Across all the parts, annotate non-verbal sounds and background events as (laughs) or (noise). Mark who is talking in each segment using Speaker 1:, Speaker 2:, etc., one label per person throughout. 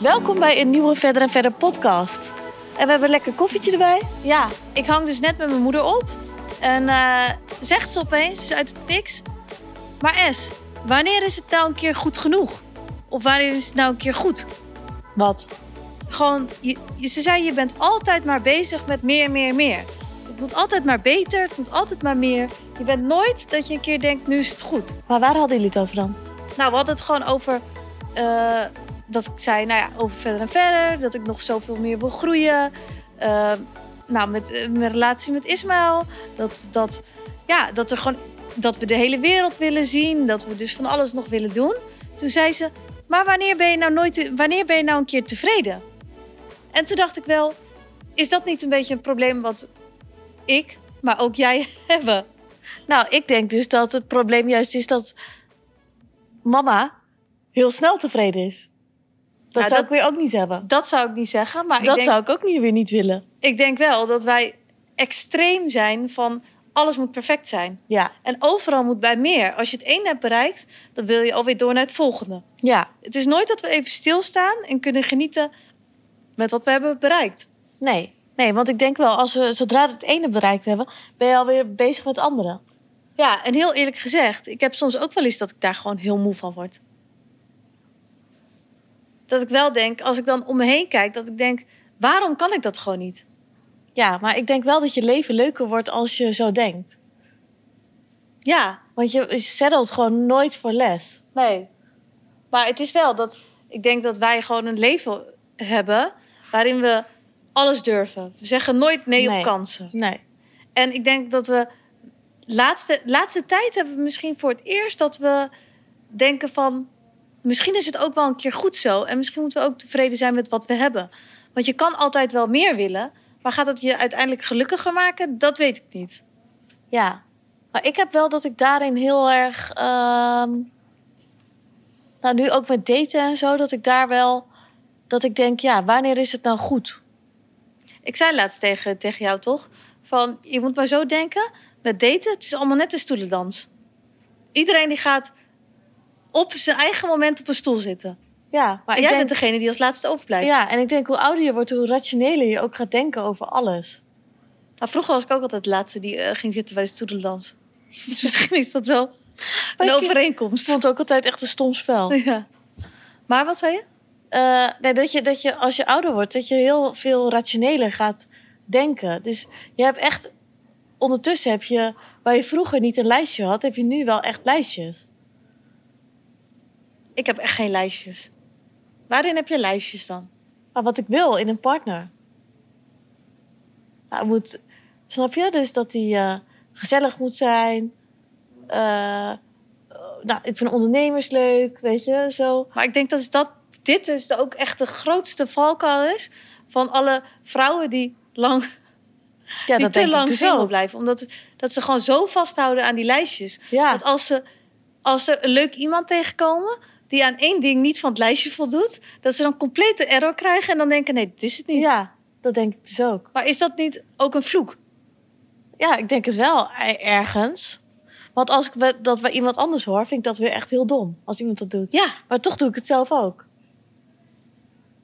Speaker 1: Welkom bij een nieuwe Verder en Verder podcast. En we hebben een lekker koffietje erbij. Ja, ik hang dus net met mijn moeder op. En eh, zegt ze opeens, dus uit het niks. Maar S, wanneer is het nou een keer goed genoeg? Of wanneer is het nou een keer goed?
Speaker 2: Wat?
Speaker 1: Gewoon, je- je- ze zei je bent altijd maar bezig met meer, meer, meer. Het moet altijd maar beter, het moet altijd maar meer. Je bent nooit dat je een keer denkt, nu is het goed.
Speaker 2: Maar waar hadden jullie het over dan?
Speaker 1: Nou, we hadden het gewoon over. eh, dat ik zei, nou ja, over verder en verder. Dat ik nog zoveel meer wil groeien. Eh, nou, met eh, mijn relatie met Ismaël. Dat, dat, ja, dat, er gewoon, dat we de hele wereld willen zien. Dat we dus van alles nog willen doen. Toen zei ze, maar wanneer ben je nou, nooit, wanneer ben je nou een keer tevreden? En toen dacht ik wel, is dat niet een beetje een probleem wat ik, maar ook jij (laughs) hebben?
Speaker 2: Nou, ik denk dus dat het probleem juist is dat mama heel snel tevreden is. Nou, Dat
Speaker 1: Ja,
Speaker 2: zou
Speaker 1: dat-
Speaker 2: ik weer ook niet hebben.
Speaker 1: Dat zou ik niet zeggen, maar ik
Speaker 2: dat
Speaker 1: denk...
Speaker 2: zou ik ook niet, weer niet willen.
Speaker 1: ik denk wel dat wij extreem zijn van alles moet perfect zijn.
Speaker 2: Ja,
Speaker 1: En overal moet bij meer. Als je het één hebt bereikt, dan wil je alweer door naar het volgende.
Speaker 2: ja,
Speaker 1: Het is nooit dat we even stilstaan en kunnen genieten met wat we hebben bereikt.
Speaker 2: nee. Nee, want ik denk wel, als we, zodra we het ene bereikt hebben, ben je alweer bezig met het andere.
Speaker 1: Ja, en heel eerlijk gezegd, ik heb soms ook wel eens dat ik daar gewoon heel moe van word. Dat ik wel denk, als ik dan om me heen kijk, dat ik denk, waarom kan ik dat gewoon niet?
Speaker 2: Ja, maar ik denk wel dat je leven leuker wordt als je zo denkt.
Speaker 1: Ja,
Speaker 2: Want je, je settelt gewoon nooit voor les.
Speaker 1: Nee. Maar het is wel dat ik denk dat wij gewoon een leven hebben waarin we alles durven. We zeggen nooit nee,
Speaker 2: Nee.
Speaker 1: op kansen.
Speaker 2: Nee.
Speaker 1: En ik denk dat we laatste, laatste tijd hebben we misschien voor het eerst dat we denken van misschien is het ook wel een keer goed zo en misschien moeten we ook tevreden zijn met wat we hebben. Want je kan altijd wel meer willen, maar gaat dat je uiteindelijk gelukkiger maken? Dat weet ik niet.
Speaker 2: Ja, maar ik heb wel dat ik daarin heel erg. ehm, nou, nu ook met (laughs) daten en zo, dat ik daar wel. Dat ik denk, ja, wanneer is het nou goed?
Speaker 1: Ik zei laatst tegen, tegen jou toch? Van, je moet maar zo denken, met daten, het is allemaal net een stoelendans. Iedereen die gaat op zijn eigen moment op een stoel zitten.
Speaker 2: Ja, maar
Speaker 1: En
Speaker 2: ik
Speaker 1: jij
Speaker 2: denk,
Speaker 1: bent degene die als laatste overblijft.
Speaker 2: ja, en ik denk hoe ouder je wordt, hoe rationeler je ook gaat denken over alles.
Speaker 1: Nou, vroeger was ik ook altijd de laatste die eh, ging zitten bij de stoelendans. (laughs) Dus misschien is dat wel een
Speaker 2: Misschien-
Speaker 1: overeenkomst.
Speaker 2: Ik vond het ook altijd echt een stom spel.
Speaker 1: (laughs) Ja. Maar wat zei je?
Speaker 2: Eh, nee, dat je, dat je als je ouder wordt, dat je heel veel rationeler gaat denken. Dus je hebt echt. Ondertussen heb je, waar je vroeger niet een lijstje had, heb je nu wel echt lijstjes.
Speaker 1: Ik heb echt geen lijstjes. Waarin heb je lijstjes dan?
Speaker 2: Maar Ah, wat ik wil in een partner. Nou, het moet, snap je? Dus dat hij eh, gezellig moet zijn. Eh, eh, nou, ik vind ondernemers leuk, weet je, zo.
Speaker 1: Maar ik denk dat, is dat dit dus de- ook echt de grootste valkuil is van alle vrouwen die lang,
Speaker 2: Ja,
Speaker 1: die
Speaker 2: dat
Speaker 1: te
Speaker 2: denk
Speaker 1: lang
Speaker 2: ik dus
Speaker 1: single
Speaker 2: ook.
Speaker 1: blijven. Omdat dat ze gewoon zo vasthouden aan die lijstjes.
Speaker 2: Ja,
Speaker 1: Dat als ze, als ze een leuk iemand tegenkomen die aan één ding niet van het lijstje voldoet, dat ze dan complete error krijgen en dan denken: nee, dit is het niet.
Speaker 2: ja, dat denk ik dus ook.
Speaker 1: Maar is dat niet ook een vloek?
Speaker 2: Ja, ik denk het wel e- ergens. Want als ik we- dat bij iemand anders hoor, vind ik dat weer echt heel dom. Als iemand dat doet.
Speaker 1: Ja,
Speaker 2: Maar toch doe ik het zelf ook.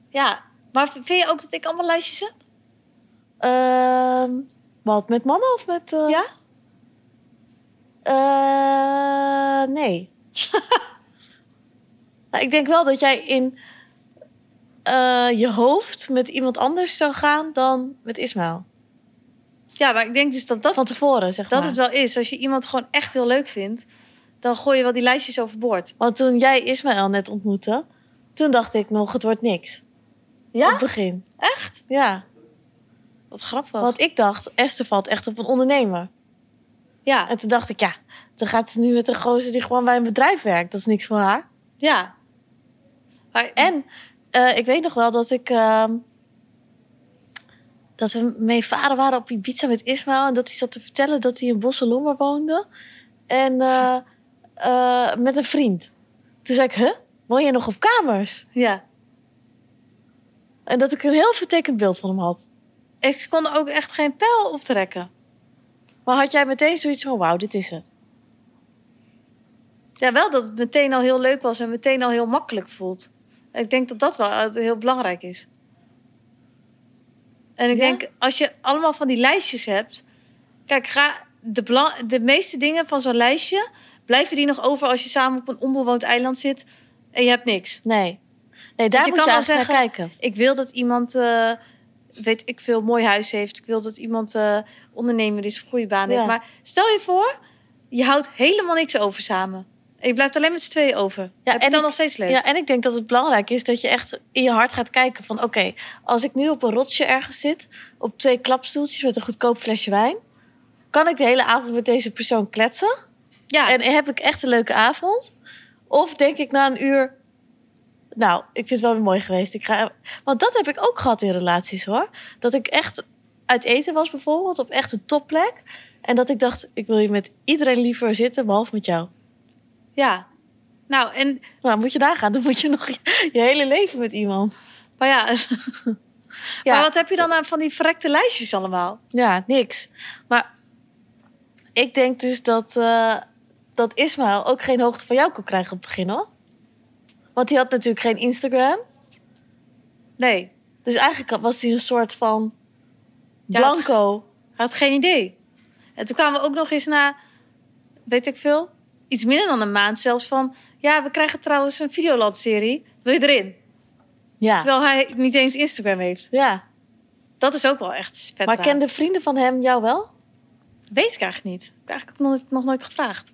Speaker 1: ja. Maar v- vind je ook dat ik allemaal lijstjes heb?
Speaker 2: Ehm, wat, met mannen of met... eh,
Speaker 1: Ja?
Speaker 2: Eh,
Speaker 1: (laughs)
Speaker 2: nee. nou, ik denk wel dat jij in eh, je hoofd met iemand anders zou gaan dan met Ismaël.
Speaker 1: Ja, maar ik denk dus dat dat
Speaker 2: Van tevoren, zeg
Speaker 1: dat
Speaker 2: maar.
Speaker 1: het wel is. Als je iemand gewoon echt heel leuk vindt, dan gooi je wel die lijstjes overboord.
Speaker 2: Want toen jij Ismaël net ontmoette, toen dacht ik nog, het wordt niks. Op het begin.
Speaker 1: Echt? Oh.
Speaker 2: Ja,
Speaker 1: Wat grappig.
Speaker 2: want ik dacht, Esther valt echt op een ondernemer.
Speaker 1: Ja,
Speaker 2: En toen dacht ik, ja, dan gaat ze nu met een gozer die gewoon bij een bedrijf werkt. Dat is niks voor haar.
Speaker 1: ja. Maar, en
Speaker 2: En eh, ik weet nog wel dat ik. ehm, dat we mee varen waren op Ibiza met Ismaël. En dat hij zat te vertellen dat hij in Bosselommer woonde. En eh, eh, met een vriend. Toen zei ik, huh? Woon jij nog op kamers?
Speaker 1: ja,
Speaker 2: En dat ik een heel vertekend beeld van hem had.
Speaker 1: ik kon er ook echt geen pijl optrekken.
Speaker 2: Maar had jij meteen zoiets van, wauw, dit is het.
Speaker 1: Ja, wel dat het meteen al heel leuk was en meteen al heel makkelijk voelt. Ik denk dat dat wel eh, heel belangrijk is. En ik
Speaker 2: Ja?
Speaker 1: denk, als je allemaal van die lijstjes hebt... Kijk, ga de, bela- de meeste dingen van zo'n lijstje... blijven die nog over als je samen op een onbewoond eiland zit... en je hebt niks.
Speaker 2: Nee. Nee, daar
Speaker 1: je
Speaker 2: moet
Speaker 1: kan
Speaker 2: je
Speaker 1: wel
Speaker 2: eigenlijk naar kijken.
Speaker 1: Ik wil dat iemand, eh, weet ik veel, mooi huis heeft. Ik wil dat iemand eh, ondernemer is, een goede baan heeft.
Speaker 2: Ja.
Speaker 1: Maar stel je voor, je houdt helemaal niks over samen. En je blijft alleen met z'n tweeën over. Ja, Heb je
Speaker 2: en
Speaker 1: dan
Speaker 2: ik-
Speaker 1: nog steeds leuk?
Speaker 2: Ja, en ik denk dat het belangrijk is dat je echt in je hart gaat kijken van... oké, als ik nu op een rotsje ergens zit, op twee klapstoeltjes met een goedkoop flesje wijn... kan ik de hele avond met deze persoon kletsen?
Speaker 1: Ja,
Speaker 2: En heb ik echt een leuke avond? Of denk ik na een uur... Nou, ik vind het wel weer mooi geweest. Ik ga... Want dat heb ik ook gehad in relaties hoor. Dat ik echt uit eten was bijvoorbeeld, op echt een topplek. En dat ik dacht, ik wil hier met iedereen liever zitten, behalve met jou.
Speaker 1: ja. Nou, en,
Speaker 2: Nou, moet je nagaan. Dan moet je nog je, je hele leven met iemand.
Speaker 1: maar ja. (laughs)
Speaker 2: Ja.
Speaker 1: Maar wat heb je dan aan van die verrekte lijstjes allemaal?
Speaker 2: Ja, niks. Maar ik denk dus dat, eh, dat Ismaël ook geen hoogte van jou kon krijgen op het begin, hoor. Want hij had natuurlijk geen Instagram.
Speaker 1: Nee,
Speaker 2: Dus eigenlijk had- was hij een soort van
Speaker 1: Ja,
Speaker 2: blanco.
Speaker 1: hij had geen idee. En toen kwamen we ook nog eens na, weet ik veel, iets minder dan een maand zelfs van... Ja, we krijgen trouwens een Videoland-serie. Wil je erin?
Speaker 2: Ja.
Speaker 1: Terwijl hij niet eens Instagram heeft.
Speaker 2: ja.
Speaker 1: Dat is ook wel echt vet.
Speaker 2: Maar
Speaker 1: raar.
Speaker 2: kenden vrienden van hem jou wel?
Speaker 1: Weet ik eigenlijk niet. Heb ik eigenlijk ook nog, nog nooit gevraagd.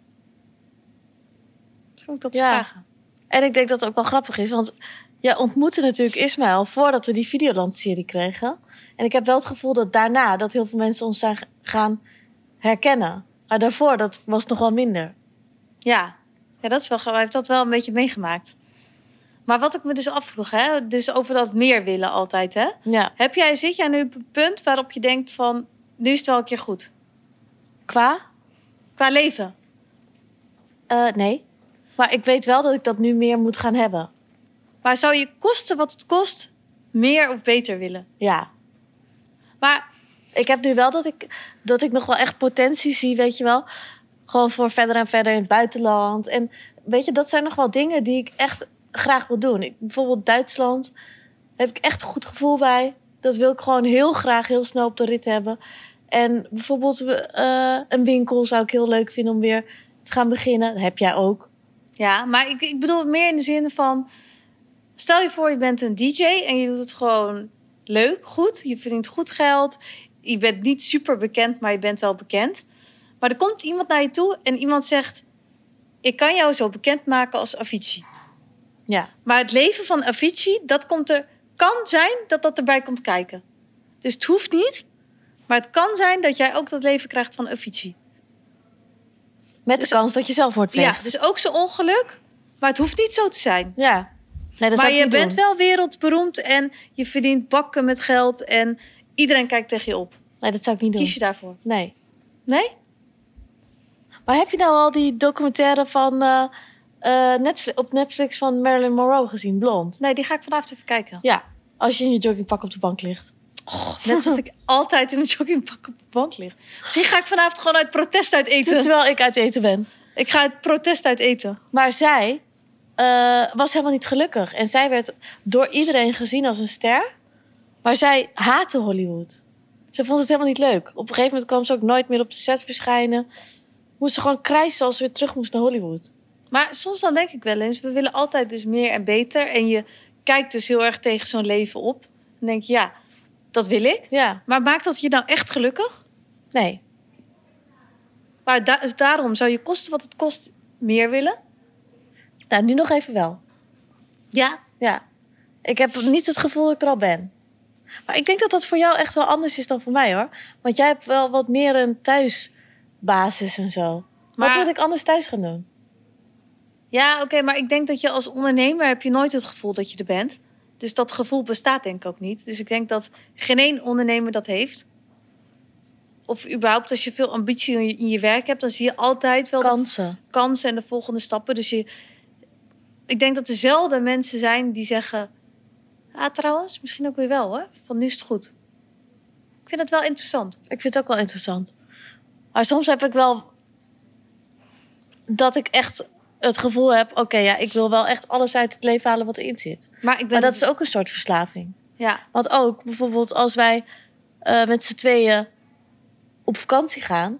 Speaker 1: Misschien moet ik dat eens
Speaker 2: Ja.
Speaker 1: vragen.
Speaker 2: En ik denk dat het ook wel grappig is, want jij ontmoette natuurlijk Ismaël voordat we die Videoland-serie kregen. En ik heb wel het gevoel dat daarna dat heel veel mensen ons zijn gaan herkennen. Maar daarvoor, dat was nog wel minder.
Speaker 1: Ja. ja, dat is wel grappig. Hij heeft dat wel een beetje meegemaakt. Maar wat ik me dus afvroeg, hè? dus over dat meer willen altijd. Hè?
Speaker 2: Ja.
Speaker 1: Heb jij, zit jij nu op een punt waarop je denkt van... nu is het wel een keer goed?
Speaker 2: Qua?
Speaker 1: Qua leven?
Speaker 2: Eh, nee. Maar ik weet wel dat ik dat nu meer moet gaan hebben.
Speaker 1: Maar zou je kosten wat het kost meer of beter willen?
Speaker 2: Ja.
Speaker 1: Maar
Speaker 2: Ik heb nu wel dat ik, dat ik nog wel echt potentie zie, weet je wel. Gewoon voor verder en verder in het buitenland. En weet je, dat zijn nog wel dingen die ik echt graag wil doen. Ik, bijvoorbeeld Duitsland heb ik echt een goed gevoel bij. Dat wil ik gewoon heel graag heel snel op de rit hebben. En bijvoorbeeld eh, een winkel zou ik heel leuk vinden om weer te gaan beginnen. Dat heb jij ook.
Speaker 1: Ja, maar ik, ik bedoel het meer in de zin van... Stel je voor, je bent een DJ en je doet het gewoon leuk, goed. Je verdient goed geld. Je bent niet super bekend, maar je bent wel bekend. Maar er komt iemand naar je toe en iemand zegt... Ik kan jou zo bekend maken als Avicii.
Speaker 2: Ja.
Speaker 1: Maar het leven van Avicii, dat komt er... Kan zijn dat dat erbij komt kijken. Dus het hoeft niet. Maar het kan zijn dat jij ook dat leven krijgt van Avicii.
Speaker 2: Met
Speaker 1: Dus-
Speaker 2: de kans dat je zelf wordt
Speaker 1: Ja,
Speaker 2: pleegt.
Speaker 1: dus ook zo'n ongeluk. Maar het hoeft niet zo te zijn.
Speaker 2: Ja. Nee, dat
Speaker 1: maar
Speaker 2: zou ik
Speaker 1: je
Speaker 2: niet doen.
Speaker 1: bent wel wereldberoemd en je verdient bakken met geld en iedereen kijkt tegen je op.
Speaker 2: Nee, dat zou ik niet doen.
Speaker 1: Kies je daarvoor?
Speaker 2: Nee.
Speaker 1: Nee?
Speaker 2: Maar heb je nou al die documentaire van, eh, eh, Netflix, op Netflix van Marilyn Monroe gezien, Blond?
Speaker 1: Nee, die ga ik vanavond even kijken.
Speaker 2: Ja, als je in je joggingpak op de bank ligt. Oh.
Speaker 1: Net alsof
Speaker 2: (laughs)
Speaker 1: ik altijd in een joggingpak op de bank lig. Misschien ga ik vanavond gewoon uit protest uit eten.
Speaker 2: Terwijl ik uit eten ben.
Speaker 1: Ik ga uit protest uit eten.
Speaker 2: Maar zij eh, was helemaal niet gelukkig. En zij werd door iedereen gezien als een ster. Maar zij haatte Hollywood. Ze vond het helemaal niet leuk. Op een gegeven moment kwam ze ook nooit meer op de set verschijnen. Moest ze gewoon krijsen als ze weer terug moest naar Hollywood.
Speaker 1: Maar soms dan denk ik wel eens, we willen altijd dus meer en beter. En je kijkt dus heel erg tegen zo'n leven op. En denk je, ja, dat wil ik.
Speaker 2: Ja,
Speaker 1: Maar maakt dat je nou echt gelukkig?
Speaker 2: nee.
Speaker 1: Maar da- daarom zou je kosten wat het kost meer willen.
Speaker 2: Nou, nu nog even wel.
Speaker 1: Ja,
Speaker 2: Ja. Ik heb niet het gevoel dat ik er al ben. Maar ik denk dat dat voor jou echt wel anders is dan voor mij hoor. Want jij hebt wel wat meer een thuisbasis en zo.
Speaker 1: Maar-
Speaker 2: Wat moet ik anders thuis gaan doen?
Speaker 1: Ja, oké, maar ik denk dat je als ondernemer heb je nooit het gevoel dat je er bent. Dus dat gevoel bestaat denk ik ook niet. Dus ik denk dat geen één ondernemer dat heeft. Of überhaupt als je veel ambitie in je, in je werk hebt, dan zie je altijd wel de
Speaker 2: Kansen.
Speaker 1: kansen en de volgende stappen. Dus je, ik denk dat er zelden mensen zijn die zeggen... Ah, trouwens, misschien ook weer wel hoor. Van nu is het goed. Ik vind dat wel interessant.
Speaker 2: Ik vind het ook wel interessant. Maar soms heb ik wel dat ik echt het gevoel heb... oké, ja, ik wil wel echt alles uit het leven halen wat erin zit.
Speaker 1: Maar ik ben...
Speaker 2: Maar dat is ook een soort verslaving.
Speaker 1: Ja,
Speaker 2: Want ook bijvoorbeeld als wij eh, met z'n tweeën op vakantie gaan,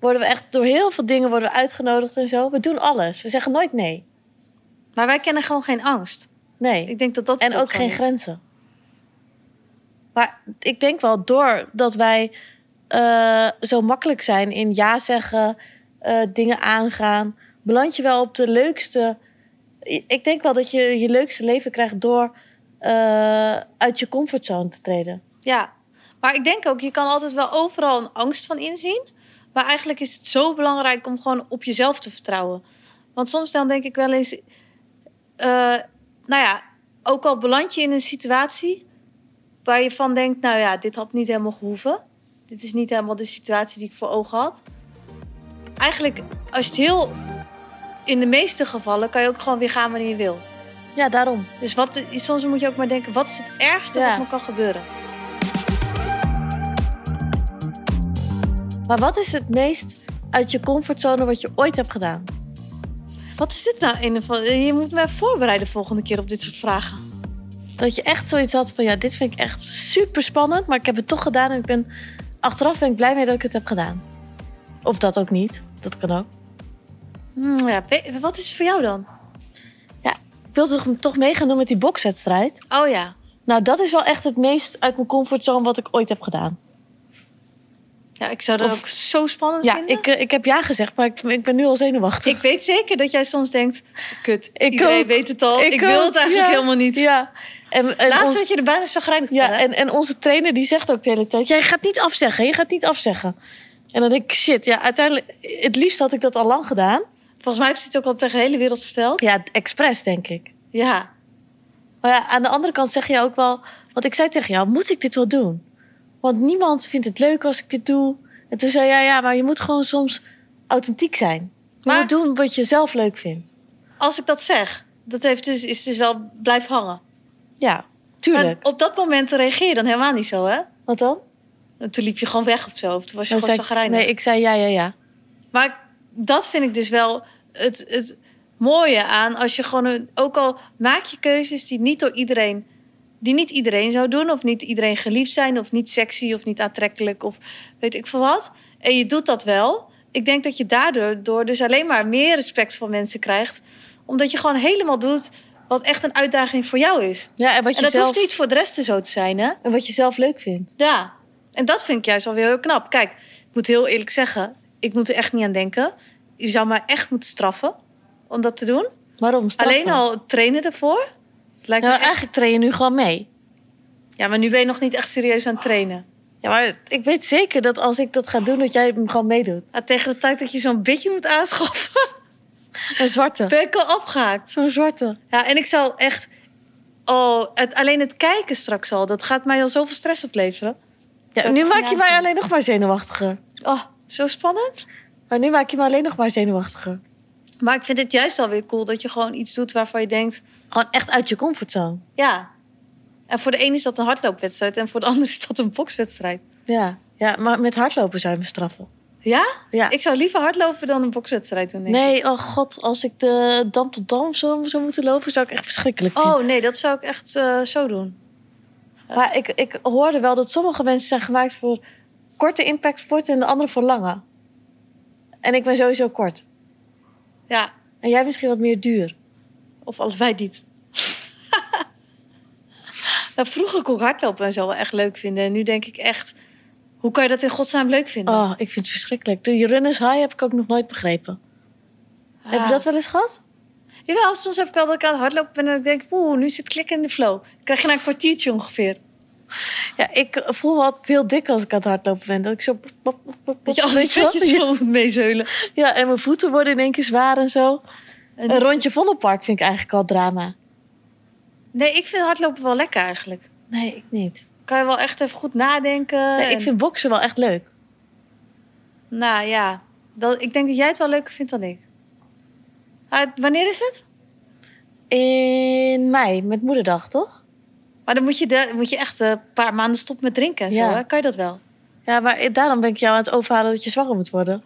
Speaker 2: worden we echt door heel veel dingen worden we uitgenodigd en zo. We doen alles. We zeggen nooit nee.
Speaker 1: maar wij kennen gewoon geen angst.
Speaker 2: Nee.
Speaker 1: Ik denk dat dat het
Speaker 2: En ook
Speaker 1: gewoon
Speaker 2: geen
Speaker 1: is.
Speaker 2: grenzen. Maar ik denk wel, doordat wij eh, zo makkelijk zijn in ja zeggen, eh, dingen aangaan, beland je wel op de leukste. I- Ik denk wel dat je je leukste leven krijgt door eh, uit je comfortzone te treden.
Speaker 1: Ja, maar ik denk ook, je kan altijd wel overal een angst van inzien. Maar eigenlijk is het zo belangrijk om gewoon op jezelf te vertrouwen. Want soms dan denk ik wel eens, eh, nou ja, ook al beland je in een situatie waar je van denkt, nou ja, dit had niet helemaal gehoeven. Dit is niet helemaal de situatie die ik voor ogen had. Eigenlijk, als je het heel, in de meeste gevallen kan je ook gewoon weer gaan wanneer je wil.
Speaker 2: Ja, daarom.
Speaker 1: Dus wat, soms moet je ook maar denken, wat is het ergste
Speaker 2: Ja.
Speaker 1: wat me kan gebeuren?
Speaker 2: Maar wat is het meest uit je comfortzone wat je ooit hebt gedaan?
Speaker 1: Wat is dit nou in van? Je moet mij voorbereiden volgende keer op dit soort vragen.
Speaker 2: Dat je echt zoiets had van ja, dit vind ik echt super spannend, maar ik heb het toch gedaan en ik ben achteraf ben ik blij mee dat ik het heb gedaan. Of dat ook niet. Dat kan ook.
Speaker 1: Hmm, ja, we- wat is het voor jou dan?
Speaker 2: Ik wilde toch, toch mee gaan doen met die bokswedstrijd.
Speaker 1: Oh ja.
Speaker 2: Nou, dat is wel echt het meest uit mijn comfortzone wat ik ooit heb gedaan.
Speaker 1: ja ik zou dat
Speaker 2: Of-
Speaker 1: ook zo spannend
Speaker 2: Ja,
Speaker 1: vinden.
Speaker 2: ik, eh, ik heb ja gezegd, maar ik, ik ben nu al zenuwachtig.
Speaker 1: ik weet zeker dat jij soms denkt... Kut,
Speaker 2: Ik
Speaker 1: iedereen
Speaker 2: ook.
Speaker 1: weet het al. Ik,
Speaker 2: Ik
Speaker 1: wil
Speaker 2: ook,
Speaker 1: het eigenlijk
Speaker 2: ja.
Speaker 1: helemaal niet.
Speaker 2: Ja. En, en
Speaker 1: Laatst
Speaker 2: ons-
Speaker 1: werd je er bijna zo grijnig van,
Speaker 2: Ja,
Speaker 1: hè?
Speaker 2: en, en onze trainer die zegt ook de hele tijd: Jij gaat niet afzeggen, je gaat niet afzeggen. En dan denk ik: Shit, ja, uiteindelijk, het liefst had ik dat al lang gedaan.
Speaker 1: Volgens mij heeft hij het ook al tegen de hele wereld verteld.
Speaker 2: Ja, expres denk ik.
Speaker 1: Ja.
Speaker 2: Maar ja, aan de andere kant zeg je ook wel: Want ik zei tegen jou, moet ik dit wel doen? Want niemand vindt het leuk als ik dit doe. En toen zei jij: Ja, maar je moet gewoon soms authentiek zijn. Je
Speaker 1: Maar-
Speaker 2: moet doen wat je zelf leuk vindt.
Speaker 1: Als ik dat zeg, dat heeft dus, is dus wel blijven hangen.
Speaker 2: Ja,
Speaker 1: Maar
Speaker 2: tuurlijk.
Speaker 1: op dat moment reageer je dan helemaal niet zo, hè?
Speaker 2: Wat dan?
Speaker 1: En toen liep je gewoon weg of zo. Of toen was je
Speaker 2: Dan zei
Speaker 1: gewoon zo
Speaker 2: ik-
Speaker 1: grijnig.
Speaker 2: nee, ik zei: Ja, ja, ja.
Speaker 1: Maar dat vind ik dus wel het, het mooie aan als je gewoon een, ook al maak je keuzes die niet door iedereen die niet iedereen zou doen of niet iedereen geliefd zijn of niet sexy of niet aantrekkelijk of weet ik veel wat. En je doet dat wel. Ik denk dat je daardoor door dus alleen maar meer respect voor mensen krijgt, omdat je gewoon helemaal doet wat echt een uitdaging voor jou is.
Speaker 2: Ja, en wat
Speaker 1: En
Speaker 2: je,
Speaker 1: dat
Speaker 2: zelf,
Speaker 1: hoeft niet voor de rest zo te zijn, hè?
Speaker 2: en wat je zelf leuk vindt.
Speaker 1: Ja, en dat vind ik juist alweer heel knap. Kijk, ik moet heel eerlijk zeggen, ik moet er echt niet aan denken. Je zou mij echt moeten straffen om dat te doen.
Speaker 2: Waarom? Straffen?
Speaker 1: Alleen al het trainen ervoor. Lijkt
Speaker 2: Ja, maar
Speaker 1: me echt...
Speaker 2: eigenlijk train je nu gewoon mee.
Speaker 1: ja, maar nu ben je nog niet echt serieus aan het trainen.
Speaker 2: Ja, maar ik weet zeker dat als ik dat ga doen, dat jij hem gewoon meedoet.
Speaker 1: Maar tegen de tijd dat je zo'n bitje moet aanschaffen, (laughs)
Speaker 2: Een zwarte.
Speaker 1: ben ik al afgehaakt.
Speaker 2: Zo'n zwarte.
Speaker 1: Ja, en ik zou echt... Oh, het, alleen het kijken straks al, dat gaat mij al zoveel stress opleveren.
Speaker 2: Ja,
Speaker 1: Zou
Speaker 2: nu
Speaker 1: ik
Speaker 2: maak je
Speaker 1: gaan
Speaker 2: mij
Speaker 1: doen?
Speaker 2: alleen nog maar zenuwachtiger.
Speaker 1: Oh, zo spannend.
Speaker 2: Maar nu maak je me alleen nog maar zenuwachtiger.
Speaker 1: Maar ik vind het juist alweer cool dat je gewoon iets doet waarvan je denkt...
Speaker 2: Gewoon echt uit je comfortzone.
Speaker 1: Ja. En voor de een is dat een hardloopwedstrijd en voor de ander is dat een bokswedstrijd.
Speaker 2: Ja. Ja, maar met hardlopen zou je me straffen.
Speaker 1: Ja?
Speaker 2: Ja.
Speaker 1: Ik zou liever hardlopen dan een bokswedstrijd doen. denk ik.
Speaker 2: nee, oh god, als ik de dam tot dam zou, zou moeten lopen, zou ik echt verschrikkelijk vinden.
Speaker 1: Oh nee, dat zou ik echt eh, zo doen.
Speaker 2: Oh, Maar ik, ik hoorde wel dat sommige mensen zijn gemaakt voor korte impactsporten en de andere voor lange. En ik ben sowieso kort.
Speaker 1: Ja.
Speaker 2: En jij misschien wat meer duur.
Speaker 1: Of allebei niet. (laughs) nou, vroeger kon ik hardlopen en zo wel echt leuk vinden. En nu denk ik echt, hoe kan je dat in godsnaam leuk vinden?
Speaker 2: Oh, ik vind het verschrikkelijk. De runners high heb ik ook nog nooit begrepen.
Speaker 1: Ja.
Speaker 2: Heb je dat wel eens gehad?
Speaker 1: Jawel, soms heb ik wel dat ik aan het hardlopen ben en ik denk, oeh, nu zit klikken in de flow. Dan krijg je na een kwartiertje ongeveer.
Speaker 2: Ja, ik voel me altijd heel dik als ik aan het hardlopen ben. Dat ik zo...
Speaker 1: Dat je altijd een
Speaker 2: wat?
Speaker 1: beetje zo moet meezeulen.
Speaker 2: Ja, en mijn voeten worden in één keer zwaar en zo.
Speaker 1: En dus-
Speaker 2: Een rondje Vondelpark vind ik eigenlijk al drama.
Speaker 1: Nee, ik vind hardlopen wel lekker eigenlijk.
Speaker 2: Nee, ik niet.
Speaker 1: kan je wel echt even goed nadenken.
Speaker 2: Nee,
Speaker 1: en-
Speaker 2: ik vind boksen wel echt leuk.
Speaker 1: Nou ja, dat, ik denk dat jij het wel leuker vindt dan ik. Ah, wanneer is het?
Speaker 2: In mei, met moederdag, toch?
Speaker 1: Maar dan moet je, de, moet je echt eh, een paar maanden stoppen met drinken en zo.
Speaker 2: Ja.
Speaker 1: Hè? Kan je dat wel?
Speaker 2: Ja, maar daarom ben ik jou aan het overhalen dat je zwanger moet worden.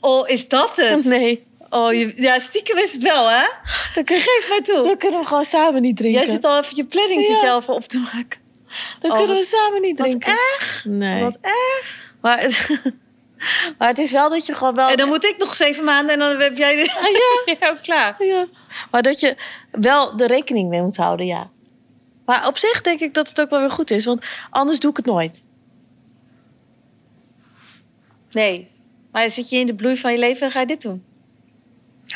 Speaker 1: Oh, is (laughs) dat het?
Speaker 2: Nee,
Speaker 1: Oh, je- ja, stiekem is het wel, hè?
Speaker 2: dan, kun-
Speaker 1: Geef mij toe.
Speaker 2: dan kunnen we gewoon samen niet drinken.
Speaker 1: Oh. Jij zit al even je planning
Speaker 2: Ja.
Speaker 1: zit jij al voor op te maken.
Speaker 2: dan
Speaker 1: Oh,
Speaker 2: kunnen
Speaker 1: wat-
Speaker 2: we samen niet
Speaker 1: wat
Speaker 2: drinken. Nee.
Speaker 1: Wat erg.
Speaker 2: Maar, het, (laughs) maar het is wel dat je gewoon wel...
Speaker 1: En dan moet ik nog zeven maanden en dan heb jij (laughs) ja. jou klaar.
Speaker 2: Ah, Ja. Maar dat je wel de rekening mee moet houden, ja. Maar op zich denk ik dat het ook wel weer goed is, want anders doe ik het nooit.
Speaker 1: Nee. Maar dan zit je in de bloei van je leven en ga je dit doen.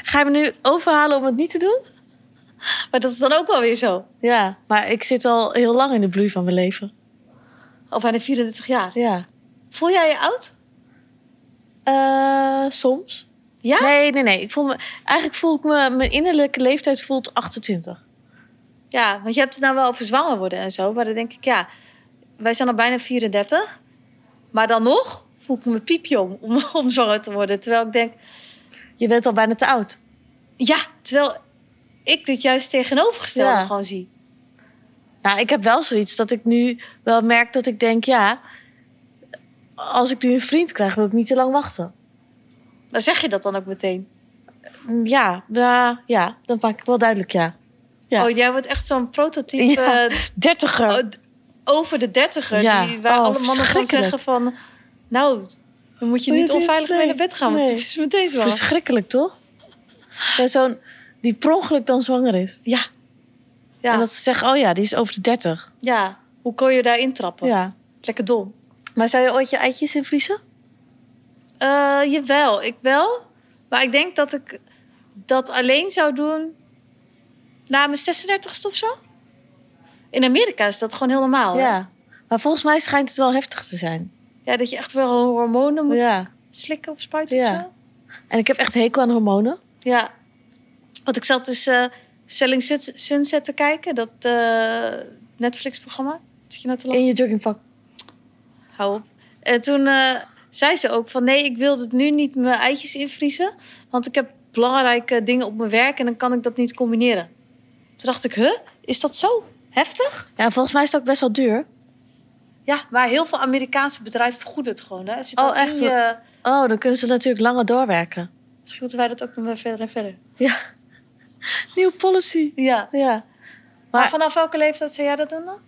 Speaker 2: Ga je me nu overhalen om het niet te doen?
Speaker 1: Maar dat is dan ook wel weer zo.
Speaker 2: Ja, maar ik zit al heel lang in de bloei van mijn leven.
Speaker 1: Of aan de 34 jaar.
Speaker 2: Ja.
Speaker 1: Voel jij je oud?
Speaker 2: Eh, soms.
Speaker 1: Ja?
Speaker 2: Nee, nee, nee. Ik voel me, eigenlijk voel ik me, mijn innerlijke leeftijd voelt 28.
Speaker 1: Ja, want je hebt het nou wel over zwanger worden en zo. Maar dan denk ik, ja, wij zijn al bijna 34. Maar dan nog voel ik me piepjong om, (laughs) om zwanger te worden. Terwijl ik denk,
Speaker 2: Je bent al bijna te oud.
Speaker 1: ja, terwijl ik dit juist tegenovergestelde
Speaker 2: Ja.
Speaker 1: gewoon zie.
Speaker 2: Nou, ik heb wel zoiets dat ik nu wel merk dat ik denk, ja, als ik nu een vriend krijg, wil ik niet te lang wachten.
Speaker 1: Dan zeg je dat dan ook meteen.
Speaker 2: Ja, ja, ja, dat maak ik wel duidelijk, ja. Ja.
Speaker 1: Oh, jij wordt echt zo'n prototype
Speaker 2: (laughs) Ja.
Speaker 1: eh,
Speaker 2: Dertiger.
Speaker 1: Oh, d- over de dertiger.
Speaker 2: Ja.
Speaker 1: Die, waar
Speaker 2: Oh,
Speaker 1: alle mannen van
Speaker 2: verschrikkelijk.
Speaker 1: zeggen van... Nou, dan moet je
Speaker 2: Moet je
Speaker 1: niet
Speaker 2: dit-
Speaker 1: onveilig mee
Speaker 2: nee,
Speaker 1: naar bed gaan. Want
Speaker 2: nee.
Speaker 1: het is meteen zo.
Speaker 2: Verschrikkelijk, toch? Ja, zo'n die per ongeluk dan zwanger is.
Speaker 1: Ja. Ja.
Speaker 2: En dat ze zeggen, oh ja, die is over de 30.
Speaker 1: ja. Hoe kon je daarin trappen?
Speaker 2: Ja.
Speaker 1: Lekker dom.
Speaker 2: Maar zou je ooit je eitjes invriezen?
Speaker 1: Eh, jawel, ik wel. Maar ik denk dat ik dat alleen zou doen na mijn 36 of zo. In Amerika is dat gewoon heel normaal. hè?
Speaker 2: Ja. Maar volgens mij schijnt het wel heftig te zijn.
Speaker 1: Ja, dat je echt wel hormonen moet
Speaker 2: Ja.
Speaker 1: slikken of spuiten
Speaker 2: Ja.
Speaker 1: of zo.
Speaker 2: En ik heb echt hekel aan hormonen.
Speaker 1: Ja. Want ik zat dus eh, Selling Sun- Sunset te kijken, dat eh, Netflix-programma. Zit je nou te lachen?
Speaker 2: In je joggingpak.
Speaker 1: Hou op. En toen eh, zei ze ook van nee, ik wil het nu niet mijn eitjes invriezen. Want ik heb belangrijke dingen op mijn werk en dan kan ik dat niet combineren. Toen dacht ik, huh, is dat zo heftig?
Speaker 2: Ja, volgens mij is het ook best wel duur.
Speaker 1: Ja, maar heel veel Amerikaanse bedrijven vergoeden het gewoon. Hè? Het Zit
Speaker 2: Oh,
Speaker 1: al in
Speaker 2: echt?
Speaker 1: je-
Speaker 2: Oh, dan kunnen ze natuurlijk langer doorwerken.
Speaker 1: Misschien moeten wij dat ook nog maar verder en verder.
Speaker 2: Ja. Nieuw policy.
Speaker 1: Ja. Maar,
Speaker 2: Ja. Maar-
Speaker 1: vanaf welke leeftijd zou jij dat doen dan?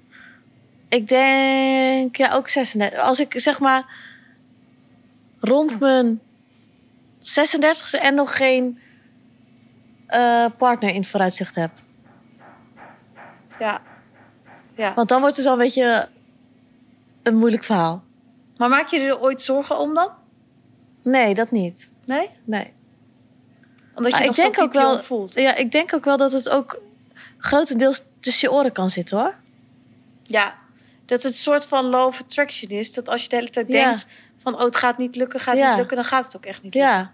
Speaker 2: Ik denk, ja, ook 36. Als ik zeg maar rond mijn 36e en nog geen eh, partner in het vooruitzicht heb.
Speaker 1: Ja. ja.
Speaker 2: Want dan wordt het al een beetje een moeilijk verhaal.
Speaker 1: Maar maak je er ooit zorgen om dan?
Speaker 2: Nee, dat niet.
Speaker 1: Nee?
Speaker 2: Nee.
Speaker 1: Omdat je
Speaker 2: Maar
Speaker 1: nog
Speaker 2: ik denk
Speaker 1: zo
Speaker 2: ook wel,
Speaker 1: piepjong voelt.
Speaker 2: ja, ik denk ook wel dat het ook grotendeels tussen je oren kan zitten hoor.
Speaker 1: Ja, dat het een soort van love attraction is. Dat als je de hele tijd
Speaker 2: Ja.
Speaker 1: denkt van... oh, het gaat niet lukken, gaat
Speaker 2: Ja.
Speaker 1: niet lukken... dan gaat het ook echt niet lukken.
Speaker 2: Ja.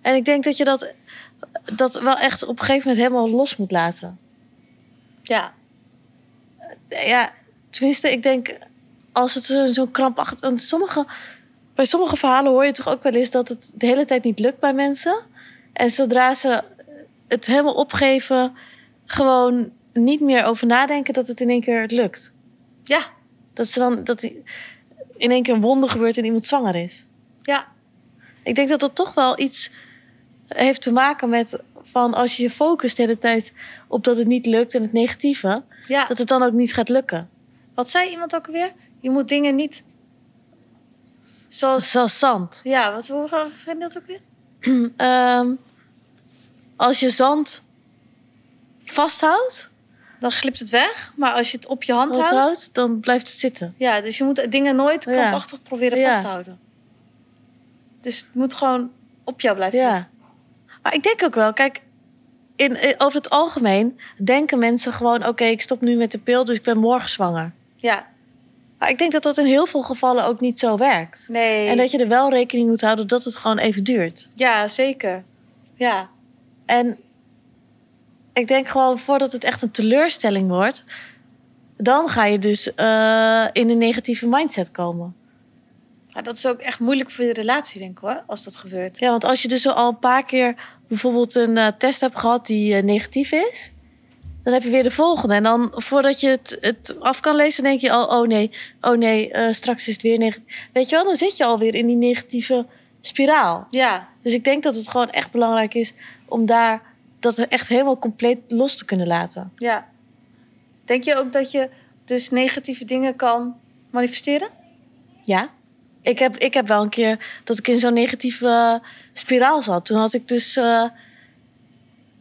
Speaker 2: En ik denk dat je dat, dat wel echt op een gegeven moment helemaal los moet laten.
Speaker 1: Ja.
Speaker 2: ja, tenminste, ik denk als het zo- zo'n krampachtig. Want sommige, bij sommige verhalen hoor je toch ook wel eens dat het de hele tijd niet lukt bij mensen. En zodra ze het helemaal opgeven, gewoon niet meer over nadenken dat het in één keer lukt.
Speaker 1: Ja,
Speaker 2: Dat ze dan dat die- in één keer een wonder gebeurt en iemand zwanger is.
Speaker 1: ja,
Speaker 2: Ik denk dat dat toch wel iets heeft te maken met van als je je focust de hele tijd op dat het niet lukt en het negatieve,
Speaker 1: ja.
Speaker 2: dat het dan ook niet gaat lukken.
Speaker 1: Wat zei iemand ook alweer? Je moet dingen niet... Zoals...
Speaker 2: Zoals zand.
Speaker 1: Ja, wat hoe ging dat ook weer?
Speaker 2: Ehm, als je zand vasthoudt,
Speaker 1: Dan glipt het weg, maar als je het op je hand houdt...
Speaker 2: houdt, dan blijft het zitten.
Speaker 1: Ja, dus je moet dingen nooit
Speaker 2: Ja.
Speaker 1: krampachtig proberen
Speaker 2: Ja.
Speaker 1: vasthouden. Dus het moet gewoon op jou blijven.
Speaker 2: Ja. Maar ik denk ook wel, kijk, in, in- over het algemeen denken mensen gewoon: oké, ik stop nu met de pil, dus ik ben morgen zwanger.
Speaker 1: ja.
Speaker 2: Maar ik denk dat dat in heel veel gevallen ook niet zo werkt.
Speaker 1: Nee.
Speaker 2: En dat je er wel rekening moet houden dat het gewoon even duurt.
Speaker 1: Ja, zeker. Ja.
Speaker 2: En ik denk gewoon voordat het echt een teleurstelling wordt, dan ga je dus eh, in een negatieve mindset komen.
Speaker 1: Ja, dat is ook echt moeilijk voor je relatie, denk ik hoor, als dat gebeurt.
Speaker 2: Ja, want als je dus al een paar keer bijvoorbeeld een eh, test hebt gehad die eh, negatief is, dan heb je weer de volgende. En dan voordat je het, het af kan lezen, denk je al, oh nee, oh nee, eh, straks is het weer negatief. Weet je wel, dan zit je alweer in die negatieve spiraal.
Speaker 1: Ja,
Speaker 2: Dus ik denk dat het gewoon echt belangrijk is om daar dat echt helemaal compleet los te kunnen laten.
Speaker 1: ja. Denk je ook dat je dus negatieve dingen kan manifesteren?
Speaker 2: Ja? Ik heb, ik heb wel een keer dat ik in zo'n negatieve eh, spiraal zat. Toen had ik dus, eh,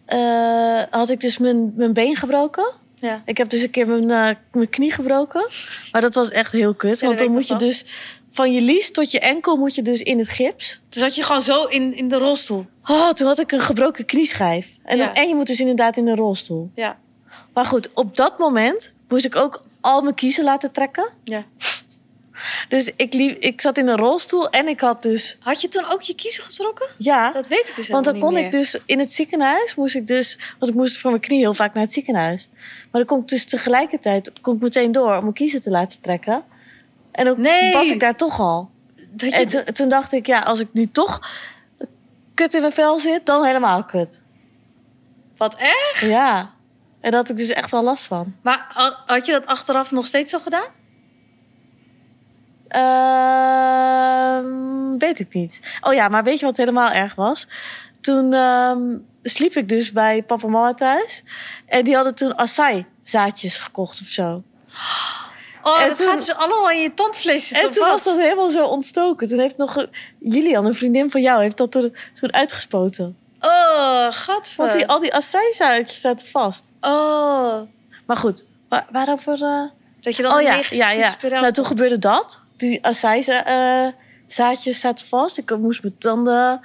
Speaker 2: eh, had ik dus mijn, mijn been gebroken.
Speaker 1: Ja.
Speaker 2: Ik heb dus een keer mijn, eh, mijn knie gebroken. Maar dat was echt heel kut.
Speaker 1: Ja,
Speaker 2: want
Speaker 1: dat
Speaker 2: dan
Speaker 1: weet
Speaker 2: moet
Speaker 1: ik
Speaker 2: je
Speaker 1: nog
Speaker 2: dus van je lies tot je enkel moet je dus in het gips.
Speaker 1: Dus dat je gewoon zo in, in de rolstoel.
Speaker 2: Oh, toen had ik een gebroken knieschijf. En, dan-
Speaker 1: Ja.
Speaker 2: en je moet dus inderdaad in een rolstoel.
Speaker 1: Ja.
Speaker 2: Maar goed, op dat moment moest ik ook al mijn kiezen laten trekken.
Speaker 1: ja.
Speaker 2: Dus ik, liep, ik zat in een rolstoel en ik had dus...
Speaker 1: Had je toen ook je kiezen getrokken?
Speaker 2: Ja,
Speaker 1: Dat weet ik dus
Speaker 2: want
Speaker 1: helemaal
Speaker 2: dan
Speaker 1: niet
Speaker 2: kon
Speaker 1: meer.
Speaker 2: ik dus in het ziekenhuis moest ik dus... Want ik moest voor mijn knie heel vaak naar het ziekenhuis. Maar dan kon ik dus tegelijkertijd kon ik meteen door om mijn kiezen te laten trekken. En dan
Speaker 1: Nee.
Speaker 2: was ik daar toch al.
Speaker 1: Dat
Speaker 2: En
Speaker 1: je...
Speaker 2: toen, toen dacht ik, ja, als ik nu toch kut in mijn vel zit, dan helemaal kut.
Speaker 1: Wat erg.
Speaker 2: Ja. En daar had ik dus echt wel last van.
Speaker 1: Maar ha- had je dat achteraf nog steeds zo gedaan?
Speaker 2: Ehm, weet ik niet. Oh ja, maar weet je wat helemaal erg was? Toen ehm, sliep ik dus bij papa en mama thuis. En die hadden toen acai zaadjes gekocht of zo.
Speaker 1: Oh,
Speaker 2: En
Speaker 1: dat
Speaker 2: toen-
Speaker 1: gaat dus allemaal in je tandvlees zitten.
Speaker 2: En toen was
Speaker 1: vast.
Speaker 2: dat helemaal zo ontstoken. Toen heeft nog een- Julian, een vriendin van jou, heeft dat er toen uitgespoten.
Speaker 1: Oh, gadver.
Speaker 2: Want die, al die acai zaadjes zaten vast.
Speaker 1: Oh.
Speaker 2: Maar goed, waar, waarover... eh,
Speaker 1: Dat je dan
Speaker 2: oh
Speaker 1: een
Speaker 2: ja, ja,
Speaker 1: negatieve
Speaker 2: ja.
Speaker 1: spiraal
Speaker 2: Nou, toen
Speaker 1: komt.
Speaker 2: gebeurde dat. Die acai eh, zaadjes zaten vast. Ik moest mijn tanden...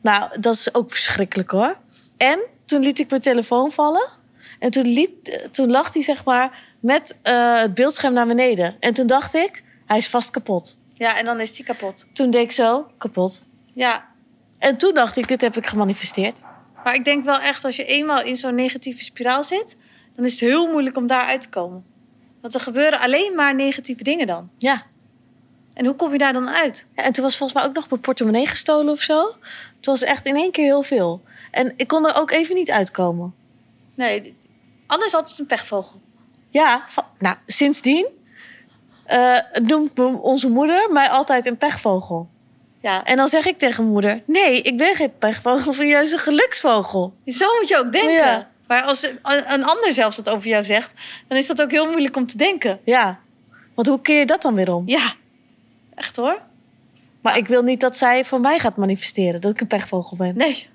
Speaker 2: Nou, dat is ook verschrikkelijk hoor. En toen liet ik mijn telefoon vallen. En toen, liep, eh, toen lag hij zeg maar met eh, het beeldscherm naar beneden. En toen dacht ik, hij is vast kapot.
Speaker 1: Ja, en dan is die kapot.
Speaker 2: Toen deed ik zo, kapot.
Speaker 1: Ja.
Speaker 2: En toen dacht ik, dit heb ik gemanifesteerd.
Speaker 1: Maar ik denk wel echt, als je eenmaal in zo'n negatieve spiraal zit... dan is het heel moeilijk om daar uit te komen. Want er gebeuren alleen maar negatieve dingen dan.
Speaker 2: Ja.
Speaker 1: En hoe kom je daar dan uit?
Speaker 2: Ja, en toen was volgens mij ook nog mijn portemonnee gestolen of zo. Het was echt in één keer heel veel. En ik kon er ook even niet uitkomen.
Speaker 1: Nee, d- alles altijd een pechvogel.
Speaker 2: Ja, va- nou, sindsdien eh, noemt m- onze moeder mij altijd een pechvogel.
Speaker 1: Ja,
Speaker 2: En dan zeg ik tegen mijn moeder: Nee, ik ben geen pechvogel, ik ben juist een geluksvogel.
Speaker 1: zo moet je ook denken.
Speaker 2: Ja.
Speaker 1: Maar als een- een ander zelfs dat over jou zegt... dan is dat ook heel moeilijk om te denken.
Speaker 2: Ja, want hoe keer je dat dan weer om?
Speaker 1: Ja, echt hoor.
Speaker 2: Maar ik wil niet dat zij voor mij gaat manifesteren dat ik een pechvogel ben.
Speaker 1: Nee.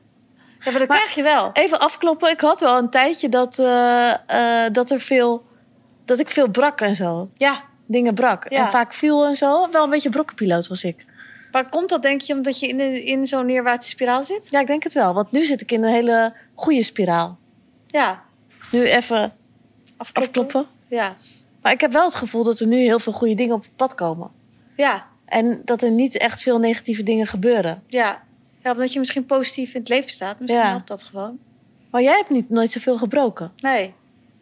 Speaker 1: Ja, maar dat
Speaker 2: Maar-
Speaker 1: krijg je wel.
Speaker 2: Even afkloppen, ik had wel een tijdje dat, eh, eh, dat, er veel, dat ik veel brak en zo.
Speaker 1: Ja,
Speaker 2: Dingen brak.
Speaker 1: Ja.
Speaker 2: En vaak viel en zo. Wel een beetje brokkenpiloot was ik.
Speaker 1: waar komt dat denk je? Omdat je in, een- in zo'n neerwaartse spiraal zit?
Speaker 2: Ja, ik denk het wel, want nu zit ik in een hele goede spiraal.
Speaker 1: Ja,
Speaker 2: Nu even
Speaker 1: afkloppen.
Speaker 2: afkloppen.
Speaker 1: Ja,
Speaker 2: Maar ik heb wel het gevoel dat er nu heel veel goede dingen op het pad komen.
Speaker 1: ja,
Speaker 2: En dat er niet echt veel negatieve dingen gebeuren.
Speaker 1: ja. Ja, omdat je misschien positief in het leven staat. Misschien
Speaker 2: Ja.
Speaker 1: helpt dat gewoon.
Speaker 2: Maar jij hebt niet, nooit zoveel gebroken.
Speaker 1: Nee.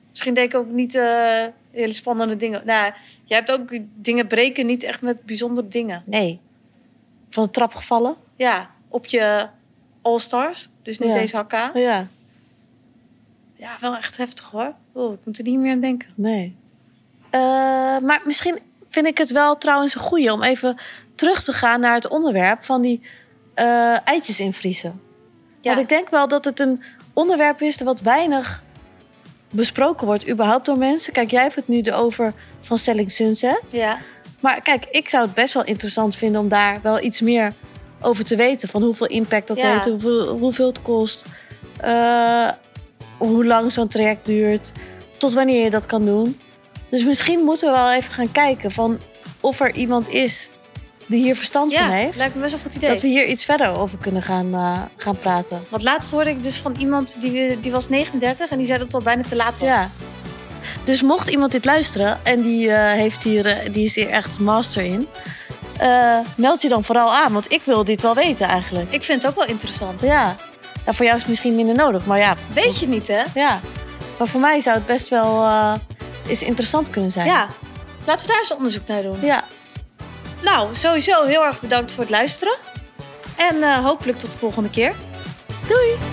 Speaker 1: Misschien denk ik ook niet eh, hele spannende dingen. Nou, jij hebt ook dingen breken, niet echt met bijzondere dingen.
Speaker 2: Nee. Van de trap gevallen?
Speaker 1: Ja, op je All-Stars. Dus niet
Speaker 2: Ja.
Speaker 1: eens hakken aan.
Speaker 2: Oh ja,
Speaker 1: Ja, wel echt heftig hoor. Oh, ik moet er niet meer aan denken.
Speaker 2: nee. Eh, maar misschien vind ik het wel trouwens een goeie om even terug te gaan naar het onderwerp van die eh, eitjes invriezen.
Speaker 1: Ja,
Speaker 2: Want ik denk wel dat het een onderwerp is dat wat weinig besproken wordt überhaupt door mensen. Kijk, jij hebt het nu erover van Selling Sunset.
Speaker 1: ja.
Speaker 2: Maar kijk, ik zou het best wel interessant vinden om daar wel iets meer over te weten. Van hoeveel impact dat
Speaker 1: Ja.
Speaker 2: heeft, hoeveel, hoeveel het kost, eh, hoe lang zo'n traject duurt, tot wanneer je dat kan doen. Dus misschien moeten we wel even gaan kijken van of er iemand is die hier verstand
Speaker 1: ja
Speaker 2: van heeft.
Speaker 1: lijkt me best een goed idee.
Speaker 2: Dat we hier iets verder over kunnen gaan, eh, gaan praten.
Speaker 1: Want laatst hoorde ik dus van iemand die, die was 39 en die zei dat het al bijna te laat was.
Speaker 2: Ja. Dus mocht iemand dit luisteren en die, eh, heeft hier, eh, die is hier echt master in, eh, meld je dan vooral aan, want ik wil dit wel weten eigenlijk.
Speaker 1: Ik vind het ook wel interessant.
Speaker 2: Ja. ja voor jou is het misschien minder nodig, maar ja,
Speaker 1: Weet je niet, hè?
Speaker 2: ja. Maar voor mij zou het best wel eh, eens interessant kunnen zijn.
Speaker 1: Ja. Laten we daar eens onderzoek naar doen.
Speaker 2: Ja.
Speaker 1: Nou, sowieso heel erg bedankt voor het luisteren. En eh, hopelijk tot de volgende keer.
Speaker 2: Doei!